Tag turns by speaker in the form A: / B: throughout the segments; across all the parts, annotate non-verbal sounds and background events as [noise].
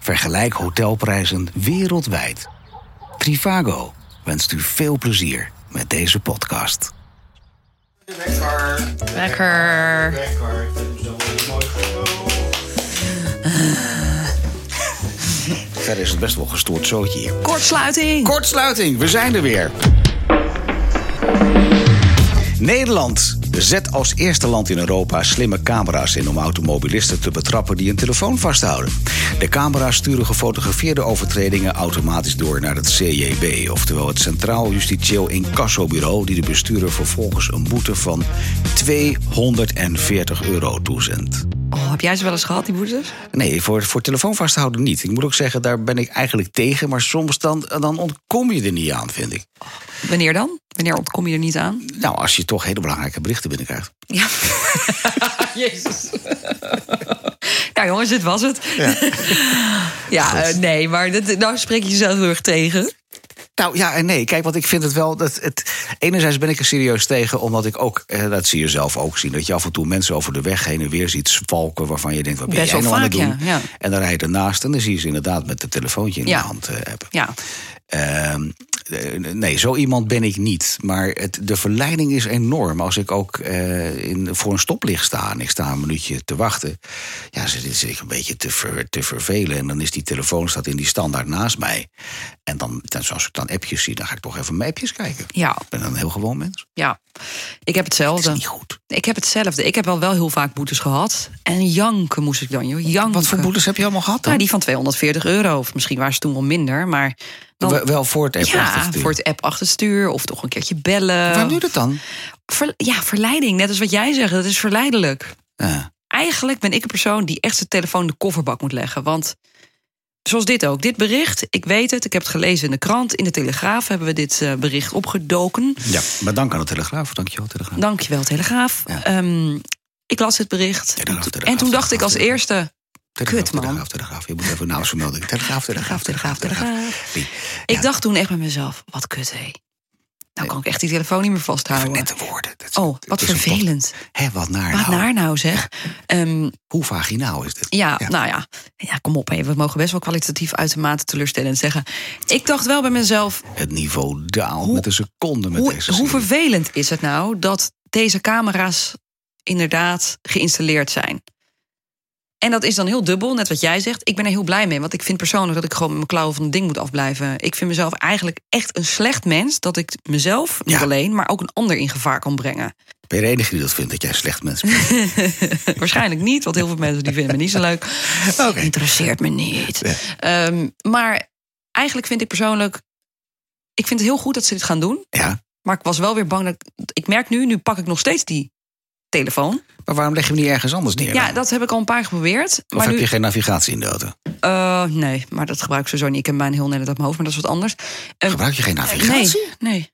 A: Vergelijk hotelprijzen wereldwijd. Trivago wenst u veel plezier met deze podcast.
B: Lekker.
C: Lekker.
B: Lekker. Ik vind hem zo mooi gekocht.
A: Verder is het best wel gestoord zootje hier.
C: Kortsluiting.
A: Kortsluiting, we zijn er weer. Nederland zet als eerste land in Europa slimme camera's in om automobilisten te betrappen die een telefoon vasthouden. De camera's sturen gefotografeerde overtredingen automatisch door naar het CJB, oftewel het Centraal Justitieel Incassobureau, die de bestuurder vervolgens een boete van 240 euro toezendt.
C: Oh, heb jij ze wel eens gehad, die boetes?
A: Nee, voor, voor telefoon vasthouden niet. Ik moet ook zeggen, daar ben ik eigenlijk tegen. Maar soms dan, dan ontkom je er niet aan, vind ik.
C: Wanneer dan? Wanneer ontkom je er niet aan?
A: Nou, als je toch hele belangrijke berichten binnenkrijgt.
C: Ja. [laughs]
A: [laughs]
C: Jezus. nou jongens, dit was het. [laughs] Ja, eh, nee, maar dit, nou spreek je jezelf heel erg tegen.
A: Nou ja en nee. Kijk, want ik vind het wel. Dat het, enerzijds ben ik er serieus tegen, omdat ik ook. eh, dat zie je zelf ook zien. Dat je af en toe mensen over de weg heen en weer ziet zwalken. waarvan je denkt: wat ben
C: Best
A: jij
C: wel
A: nou aan het
C: vaak,
A: doen?
C: ja, ja.
A: En dan rij je ernaast en dan zie je ze inderdaad met een telefoontje in
C: Ja.
A: de hand eh, hebben.
C: Ja.
A: Ehm, eh, nee, zo iemand ben ik niet. Maar het, de verleiding is enorm. Als ik ook eh, in, voor een stoplicht sta en ik sta een minuutje te wachten. Ja, ze zit zich een beetje te, ver- te vervelen. En dan is die telefoon staat in die standaard naast mij. En dan, dan, als ik dan appjes zie, dan ga ik toch even mijn appjes kijken.
C: Ja,
A: Ik ben dan een heel gewoon mens.
C: ja. Ik heb
A: Dat is
C: hetzelfde.
A: niet goed.
C: Ik heb hetzelfde. Ik heb wel, wel heel vaak boetes gehad. En janken moest ik dan, joh. Janken.
A: Wat voor boetes heb je allemaal gehad dan?
C: Nou, die van 240 euro. Of misschien waren ze toen wel minder. Maar dan,
A: We- wel voor het app
C: ja,
A: achterstuur.
C: voor het Oh. app achterstuur. Of toch een keertje bellen.
A: Waarom doe je dat dan?
C: Ver- ja, verleiding. Net als wat jij zegt, dat is verleidelijk.
A: Ja.
C: Eigenlijk ben ik een persoon die echt zijn telefoon in de kofferbak moet leggen. Want zoals dit ook, dit bericht, ik weet het, ik heb het gelezen in de krant. In de Telegraaf hebben we dit eh, bericht opgedoken.
A: ja, maar dank aan de Telegraaf. Dankjewel, Telegraaf.
C: Dankjewel, Telegraaf.
A: Ja.
C: Ehm, ik las dit bericht.
A: Telegraaf,
C: en, toen-
A: Telegraaf,
C: en toen dacht
A: Telegraaf,
C: ik als
A: Telegraaf.
C: eerste,
A: Telegraaf,
C: Kut, man.
A: Telegraaf, telegraaf. Je moet even nou
C: [laughs]
A: vermelden. Telegraaf, telegraaf, telegraaf, telegraaf. Die-
C: ik
A: Ja.
C: dacht toen echt bij mezelf, wat kut hé. Nou kan ik echt die telefoon niet meer vasthouden.
A: Nette woorden. Dat is-
C: Oh,
A: het
C: wat
A: is een
C: vervelend.
A: pot- Hè, wat naar
C: Wat
A: nou.
C: naar nou zeg. Ehm,
A: Hoe vaginaal is dit?
C: Ja,
A: Ja.
C: nou ja. ja, kom op. hè. We mogen best wel kwalitatief uitermate teleurstellend zeggen. Ik dacht wel bij mezelf,
A: Het niveau daalt met een seconde met
C: hoe,
A: deze
C: hoe
A: serie.
C: vervelend is het nou dat deze camera's inderdaad geïnstalleerd zijn? En dat is dan heel dubbel, net wat jij zegt. Ik ben er heel blij mee, want ik vind persoonlijk dat ik gewoon met mijn klauwen van het ding moet afblijven. Ik vind mezelf eigenlijk echt een slecht mens dat ik mezelf, niet
A: Ja.
C: alleen, maar ook een ander in gevaar kan brengen.
A: Ben je de enige die dat vindt, dat jij een slecht mens
C: [laughs]
A: bent?
C: Waarschijnlijk niet, want heel veel mensen die vinden me niet zo leuk.
A: [laughs]
C: Interesseert me niet. Ehm, maar eigenlijk vind ik persoonlijk... Ik vind het heel goed dat ze dit gaan doen.
A: ja.
C: Maar ik was wel weer bang dat... Ik merk nu, nu pak ik nog steeds die telefoon.
A: Maar waarom leg je hem niet ergens anders neer?
C: Ja,
A: dan?
C: dat heb ik al een paar keer geprobeerd.
A: of
C: maar
A: heb
C: nu,
A: je geen navigatie in de auto?
C: Eh, nee, maar dat gebruik ik sowieso niet. Ik heb mijn heel net uit mijn hoofd, maar dat is wat anders. Ehm,
A: Gebruik je geen
C: nee,
A: navigatie?
C: nee.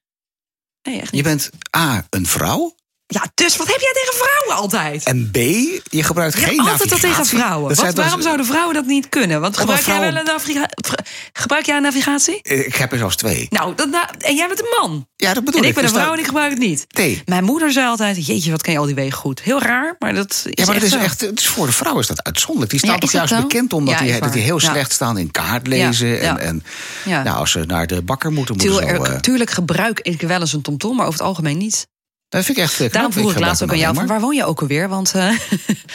C: Nee, echt niet.
A: Je bent A, een vrouw.
C: Ja, dus wat heb jij tegen vrouwen altijd?
A: En B, je gebruikt
C: Ja,
A: geen
C: altijd
A: navigatie.
C: dat tegen vrouwen.
A: Dat
C: Wat,
A: zijn toch-
C: waarom zouden vrouwen dat niet kunnen? Want
A: Omdat
C: gebruik jij wel een naviga- vra- gebruik jij een navigatie?
A: Ik heb er zelfs twee.
C: Nou, dat, nou, en jij bent een man.
A: Ja, dat bedoel
C: en
A: ik.
C: ik ben
A: Dus
C: een vrouw
A: daar-
C: en ik gebruik het niet.
A: Nee.
C: Mijn moeder zei altijd: Jeetje, wat ken je al die wegen goed? Heel raar, maar dat is.
A: Ja, maar dat
C: echt
A: is
C: zo.
A: echt, het is voor de vrouw is dat uitzonderlijk. Die
C: Ja,
A: staat
C: is
A: toch
C: dat
A: juist
C: zo?
A: bekend omdat
C: Ja,
A: die,
C: is
A: dat die
C: waar.
A: heel
C: Ja.
A: slecht staan in kaartlezen.
C: Ja, ja.
A: En, en
C: Ja.
A: Nou, als ze naar de bakker moeten, moeten ze
C: Tuurlijk,
A: wel, eh,
C: tuurlijk gebruik ik wel eens een tomtom, maar over het algemeen niet.
A: Dat vind ik echt eh, knap.
C: Daarom vroeg ik
A: gebruik
C: laatst ook
A: hem
C: aan jou:
A: alleen
C: van,
A: maar.
C: Waar woon je ook alweer? Want. eh,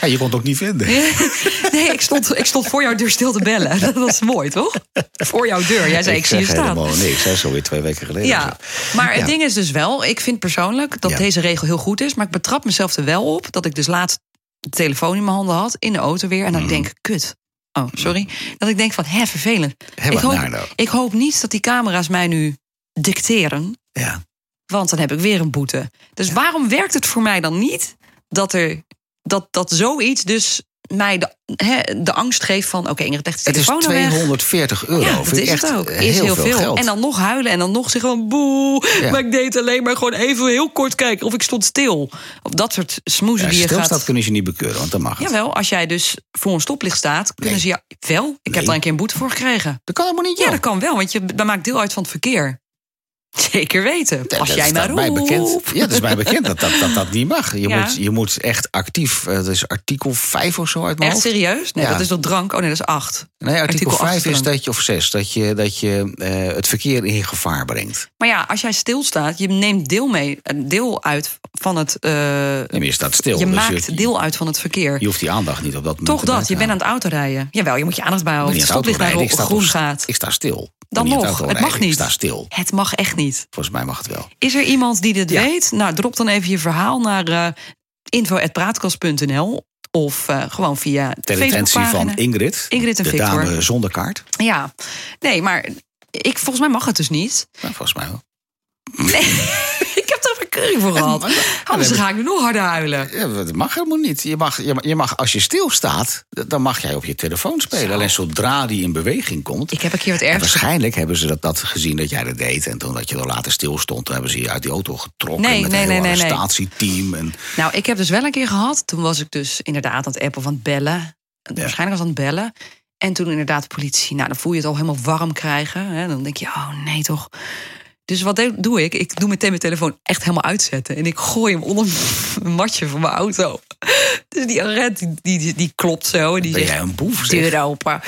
C: [laughs]
A: Ja, je kon het ook niet vinden.
C: nee, ik stond, ik stond voor jouw deur stil te bellen. [laughs] Dat was mooi, toch? Voor jouw deur. Jij zei: Ik, zie je
A: zeg
C: staan.
A: helemaal niks. Hè, zo weer twee weken geleden.
C: Ja, maar het
A: Ja.
C: ding is dus wel, ik vind persoonlijk dat
A: Ja.
C: deze regel heel goed is, maar ik betrap mezelf er wel op dat ik dus laatst de telefoon in mijn handen had, in de auto weer, en dat
A: Mm.
C: ik denk, kut. Oh, sorry. Dat ik denk van, hè, vervelend.
A: Hè,
C: ik,
A: wat
C: hoop,
A: naar nou.
C: ik hoop niet dat die camera's mij nu dicteren,
A: Ja.
C: want dan heb ik weer een boete. Dus waarom werkt het voor mij dan niet dat er dat, dat zoiets dus mij de, hè, de angst geeft van, oké, Ingrid, leg de
A: Het is
C: telefoon nou weg.
A: 240 euro.
C: Ja, dat
A: Vind ik
C: is
A: echt
C: het ook.
A: eh,
C: Is
A: heel, veel, geld.
C: En dan nog huilen en dan nog zeggen van boe.
A: Ja.
C: Maar ik deed alleen maar gewoon even heel kort kijken of ik stond stil. Of dat soort smoezen
A: ja,
C: die je
A: stilstaat
C: gaat...
A: kunnen ze niet bekeuren, want dan mag het.
C: Jawel, als jij dus voor een stoplicht staat, kunnen
A: Nee.
C: ze ja wel. Ik
A: Nee. Oh.
C: heb daar een keer een boete voor gekregen.
A: Dat kan helemaal niet,
C: Ja,
A: joh.
C: dat kan wel, want je dat maakt deel uit van het verkeer. [laughs] Zeker weten.
A: Ja,
C: Als
A: dat
C: jij
A: staat
C: maar
A: mij
C: roept.
A: bekend. Ja, dat is mij bekend dat dat, dat, dat niet mag. Je,
C: Ja.
A: moet, je moet echt actief, eh, dat is artikel 5 of zo uit mijn
C: Echt
A: hoofd.
C: serieus? Nee,
A: Ja.
C: dat is toch drank? Oh nee, dat is acht.
A: Nee, artikel,
C: Artikel
A: 5
C: acht
A: is
C: dan.
A: dat je, of 6, dat je, dat je eh, het verkeer in gevaar brengt.
C: Maar ja, als jij stilstaat, je neemt deel mee, een deel uit van het. eh,
A: Nee, maar je staat stil.
C: je
A: dus
C: maakt
A: je,
C: deel uit van het verkeer.
A: je hoeft die aandacht niet op dat moment
C: Toch
A: te
C: dat,
A: maken.
C: je bent aan het autorijden. Jawel, je moet je aandacht
A: Ik ben
C: bijhouden.
A: niet
C: Het
A: aan het
C: stoplicht waar
A: autorijden,
C: op
A: ik sta
C: groen
A: toch-
C: gaat.
A: Ik sta stil. Ik ben
C: Dan
A: niet aan
C: nog, het
A: autorijden,
C: mag niet.
A: Ik sta stil.
C: Het mag echt niet.
A: Volgens mij mag het wel.
C: Is er iemand die dit
A: Ja.
C: weet? Nou, drop dan even je verhaal naar eh info.praatkast.nl of eh, gewoon via de
A: Ter intentie van
C: Facebookpagina.
A: Ingrid.
C: Ingrid en
A: de
C: Victor.
A: dame zonder kaart.
C: Ja, nee, maar ik, volgens mij mag het dus niet. [laughs]
A: Nou, volgens mij wel.
C: ik heb daar verkeuring voor gehad. Anders
A: hebben-
C: ga ik nu nog harder huilen.
A: Ja, dat mag helemaal niet. Je mag, je, mag, je mag, als je stilstaat, d- dan mag jij op je telefoon spelen. Alleen zodra die in beweging komt.
C: Ik heb een keer het
A: en
C: ergste.
A: waarschijnlijk hebben ze dat, dat gezien dat jij dat deed. En toen dat je er later stil stond, toen hebben ze je uit die auto getrokken.
C: Nee,
A: met
C: nee,
A: een
C: nee,
A: heel
C: nee, nee.
A: arrestatieteam. En,
C: Nou, ik heb dus wel een keer gehad. Toen was ik dus inderdaad aan het appen of aan het bellen. Waarschijnlijk was aan het bellen. En toen inderdaad de politie. Nou, dan voel je het al helemaal warm krijgen. Hè? Dan denk je, oh nee toch. Dus wat de- doe ik? Ik doe meteen mijn telefoon echt helemaal uitzetten. En ik gooi hem onder een matje van mijn auto. [laughs] Dus die agent, die, die, die klopt zo. En die
A: ben
C: zegt,
A: jij een boef? zeg?
C: deur open.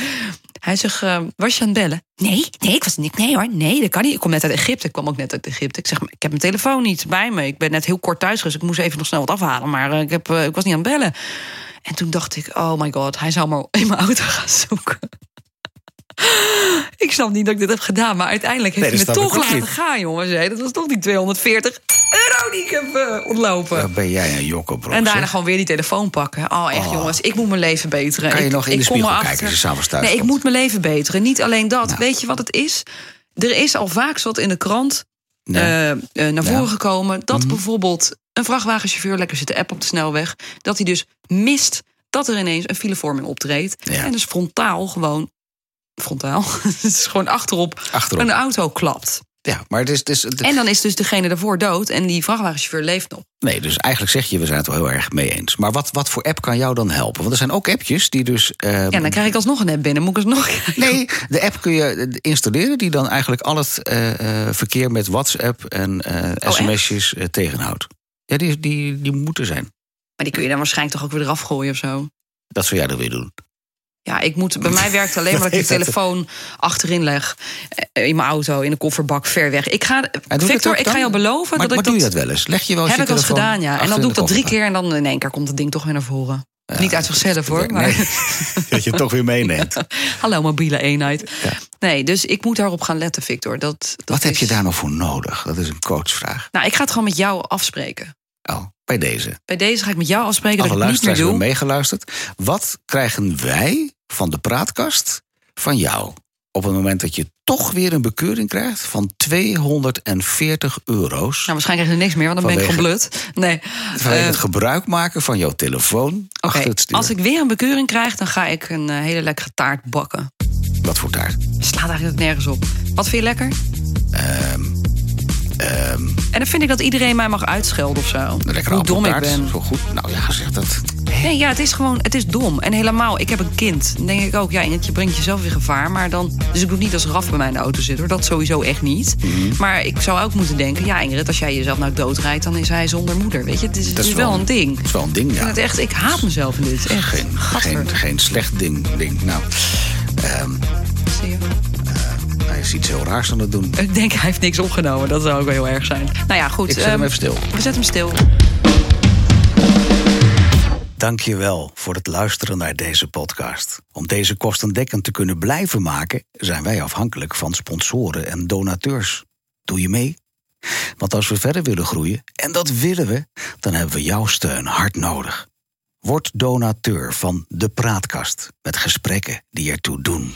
C: Hij zegt, eh, was je aan het bellen? Nee, nee, ik was niet. Nee hoor, nee, dat kan niet. Ik kom net uit Egypte. Ik kwam ook net uit Egypte. Ik zeg, maar ik heb mijn telefoon niet bij me. Ik ben net heel kort thuis geweest. Ik moest even nog snel wat afhalen. Maar eh, ik, heb, eh, ik was niet aan het bellen. En toen dacht ik, oh my god, hij zou maar in mijn auto [laughs] gaan zoeken. ik snap niet dat ik dit heb gedaan. Maar uiteindelijk heeft
A: Nee,
C: hij me
A: dat snap
C: toch
A: ik ook
C: laten
A: niet.
C: gaan, jongens. Hé, Dat was toch die 240 euro die ik heb eh, ontlopen.
A: Dan ben jij een jokkenbrok?
C: En daarna
A: zeg.
C: gewoon weer die telefoon pakken. Oh, echt
A: Oh.
C: jongens, ik moet mijn leven beteren.
A: Kan je
C: ik,
A: nog in
C: ik
A: de
C: kom
A: spiegel
C: erachter-
A: kijken als je s'avonds thuis
C: Nee, ik
A: komt? Nou.
C: moet mijn leven beteren. Niet alleen dat.
A: Ja.
C: Weet je wat het is? Er is al vaak wat in de krant
A: Ja.
C: eh, eh, naar
A: Ja. Mhm.
C: voren gekomen... dat bijvoorbeeld een vrachtwagenchauffeur lekker zit te app op de snelweg... dat hij dus mist dat er ineens een filevorming optreedt.
A: Ja.
C: En dus frontaal gewoon... Frontaal? [laughs] Het is gewoon achterop,
A: Achterop.
C: een auto klapt.
A: Ja, maar het is, het is, het-
C: En dan is dus degene daarvoor dood... en die vrachtwagenchauffeur leeft nog.
A: Nee, dus eigenlijk zeg je, we zijn het wel heel erg mee eens. Maar wat, wat voor app kan jou dan helpen? Want er zijn ook appjes die dus... eh,
C: Ja, dan krijg ik alsnog een app binnen. Moet ik alsnog...
A: Nee, de app kun je installeren die dan eigenlijk al het eh, eh, verkeer met WhatsApp en eh
C: Oh,
A: sms'jes eh, tegenhoudt. Ja, die, die, die moeten zijn.
C: Maar die kun je dan waarschijnlijk toch ook weer eraf gooien of zo.
A: Dat zou jij dan weer doen.
C: Ja, ik moet, bij mij werkt alleen maar dat
A: [laughs]
C: ik de
A: heeft dat-
C: telefoon achterin leg. eh, In mijn auto, in de kofferbak, ver weg. Ik ga,
A: En doe je dat
C: Victor,
A: ook
C: ik
A: dan?
C: ga jou beloven
A: maar,
C: dat
A: maar
C: ik
A: doe
C: dat...
A: je dat wel eens? Leg je wel eens
C: heb ik
A: je
C: dat
A: telefoon
C: gedaan, ja. En
A: achter
C: dan
A: in
C: doe ik
A: de
C: dat drie
A: kofferbak?
C: keer en dan in één keer komt het ding toch weer naar voren.
A: Ja,
C: Niet uit zichzelf hoor.
A: nee,
C: Maar,
A: Dat je het toch weer meeneemt.
C: [laughs]
A: [laughs]
C: hallo, mobiele eenheid.
A: Ja.
C: Nee, dus ik moet daarop gaan letten, Victor. Dat, dat
A: Wat heb
C: is-
A: je daar nou voor nodig? Dat is een coachvraag.
C: Nou, ik ga het gewoon met jou afspreken.
A: Oh, bij deze.
C: Bij deze ga ik met jou afspreken
A: Alle
C: dat ik het niet meer
A: luisteraars
C: doe.
A: hebben meegeluisterd. Wat krijgen wij van de praatkast van jou? Op het moment dat je toch weer een bekeuring krijgt van 240 euro's.
C: Nou, waarschijnlijk krijg je niks meer, want dan ben ik gewoon blut. Nee.
A: Vanwege
C: eh,
A: het gebruik maken van jouw telefoon
C: Oké,
A: achter het stuur.
C: als ik weer een bekeuring krijg, dan ga ik een eh, hele lekkere taart bakken.
A: Wat voor taart?
C: Slaat eigenlijk nergens op. Wat vind je lekker?
A: Ehm,
C: En dan vind ik dat iedereen mij mag uitschelden of zo.
A: Een lekkere
C: Hoe dom ik
A: ehm. appeltaart.
C: ben.
A: Zo goed. Nou ja, zeg dat.
C: Nee, ja, het is gewoon, het is dom. En helemaal, ik heb een kind. Dan denk ik ook, ja, Ingrid, je brengt jezelf in gevaar. Maar dan, dus ik doe niet als Raf bij mij in de auto zit, hoor. Dat sowieso echt niet.
A: Mhm.
C: Maar ik zou ook moeten denken, ja, Ingrid, als jij jezelf nou doodrijdt... dan is hij zonder moeder, weet je. Het is, het is wel een ding.
A: Het is wel een ding,
C: Ik,
A: ja.
C: vind het echt, ik haat mezelf in dit. Echt.
A: Geen,
C: Gadver.
A: geen, geen slecht ding. ding. Nou,
C: Zie je?
A: hij is iets heel raars aan het doen.
C: Ik denk, hij heeft niks opgenomen. Dat zou ook wel heel erg zijn. Nou ja, goed.
A: Ik zet hem
C: ehm,
A: even stil.
C: We zetten hem stil.
A: Dank je wel voor het luisteren naar deze podcast. Om deze kostendekkend te kunnen blijven maken, zijn wij afhankelijk van sponsoren en donateurs. Doe je mee? Want als we verder willen groeien, en dat willen we, dan hebben we jouw steun hard nodig. Word donateur van De Praatkast met gesprekken die ertoe doen.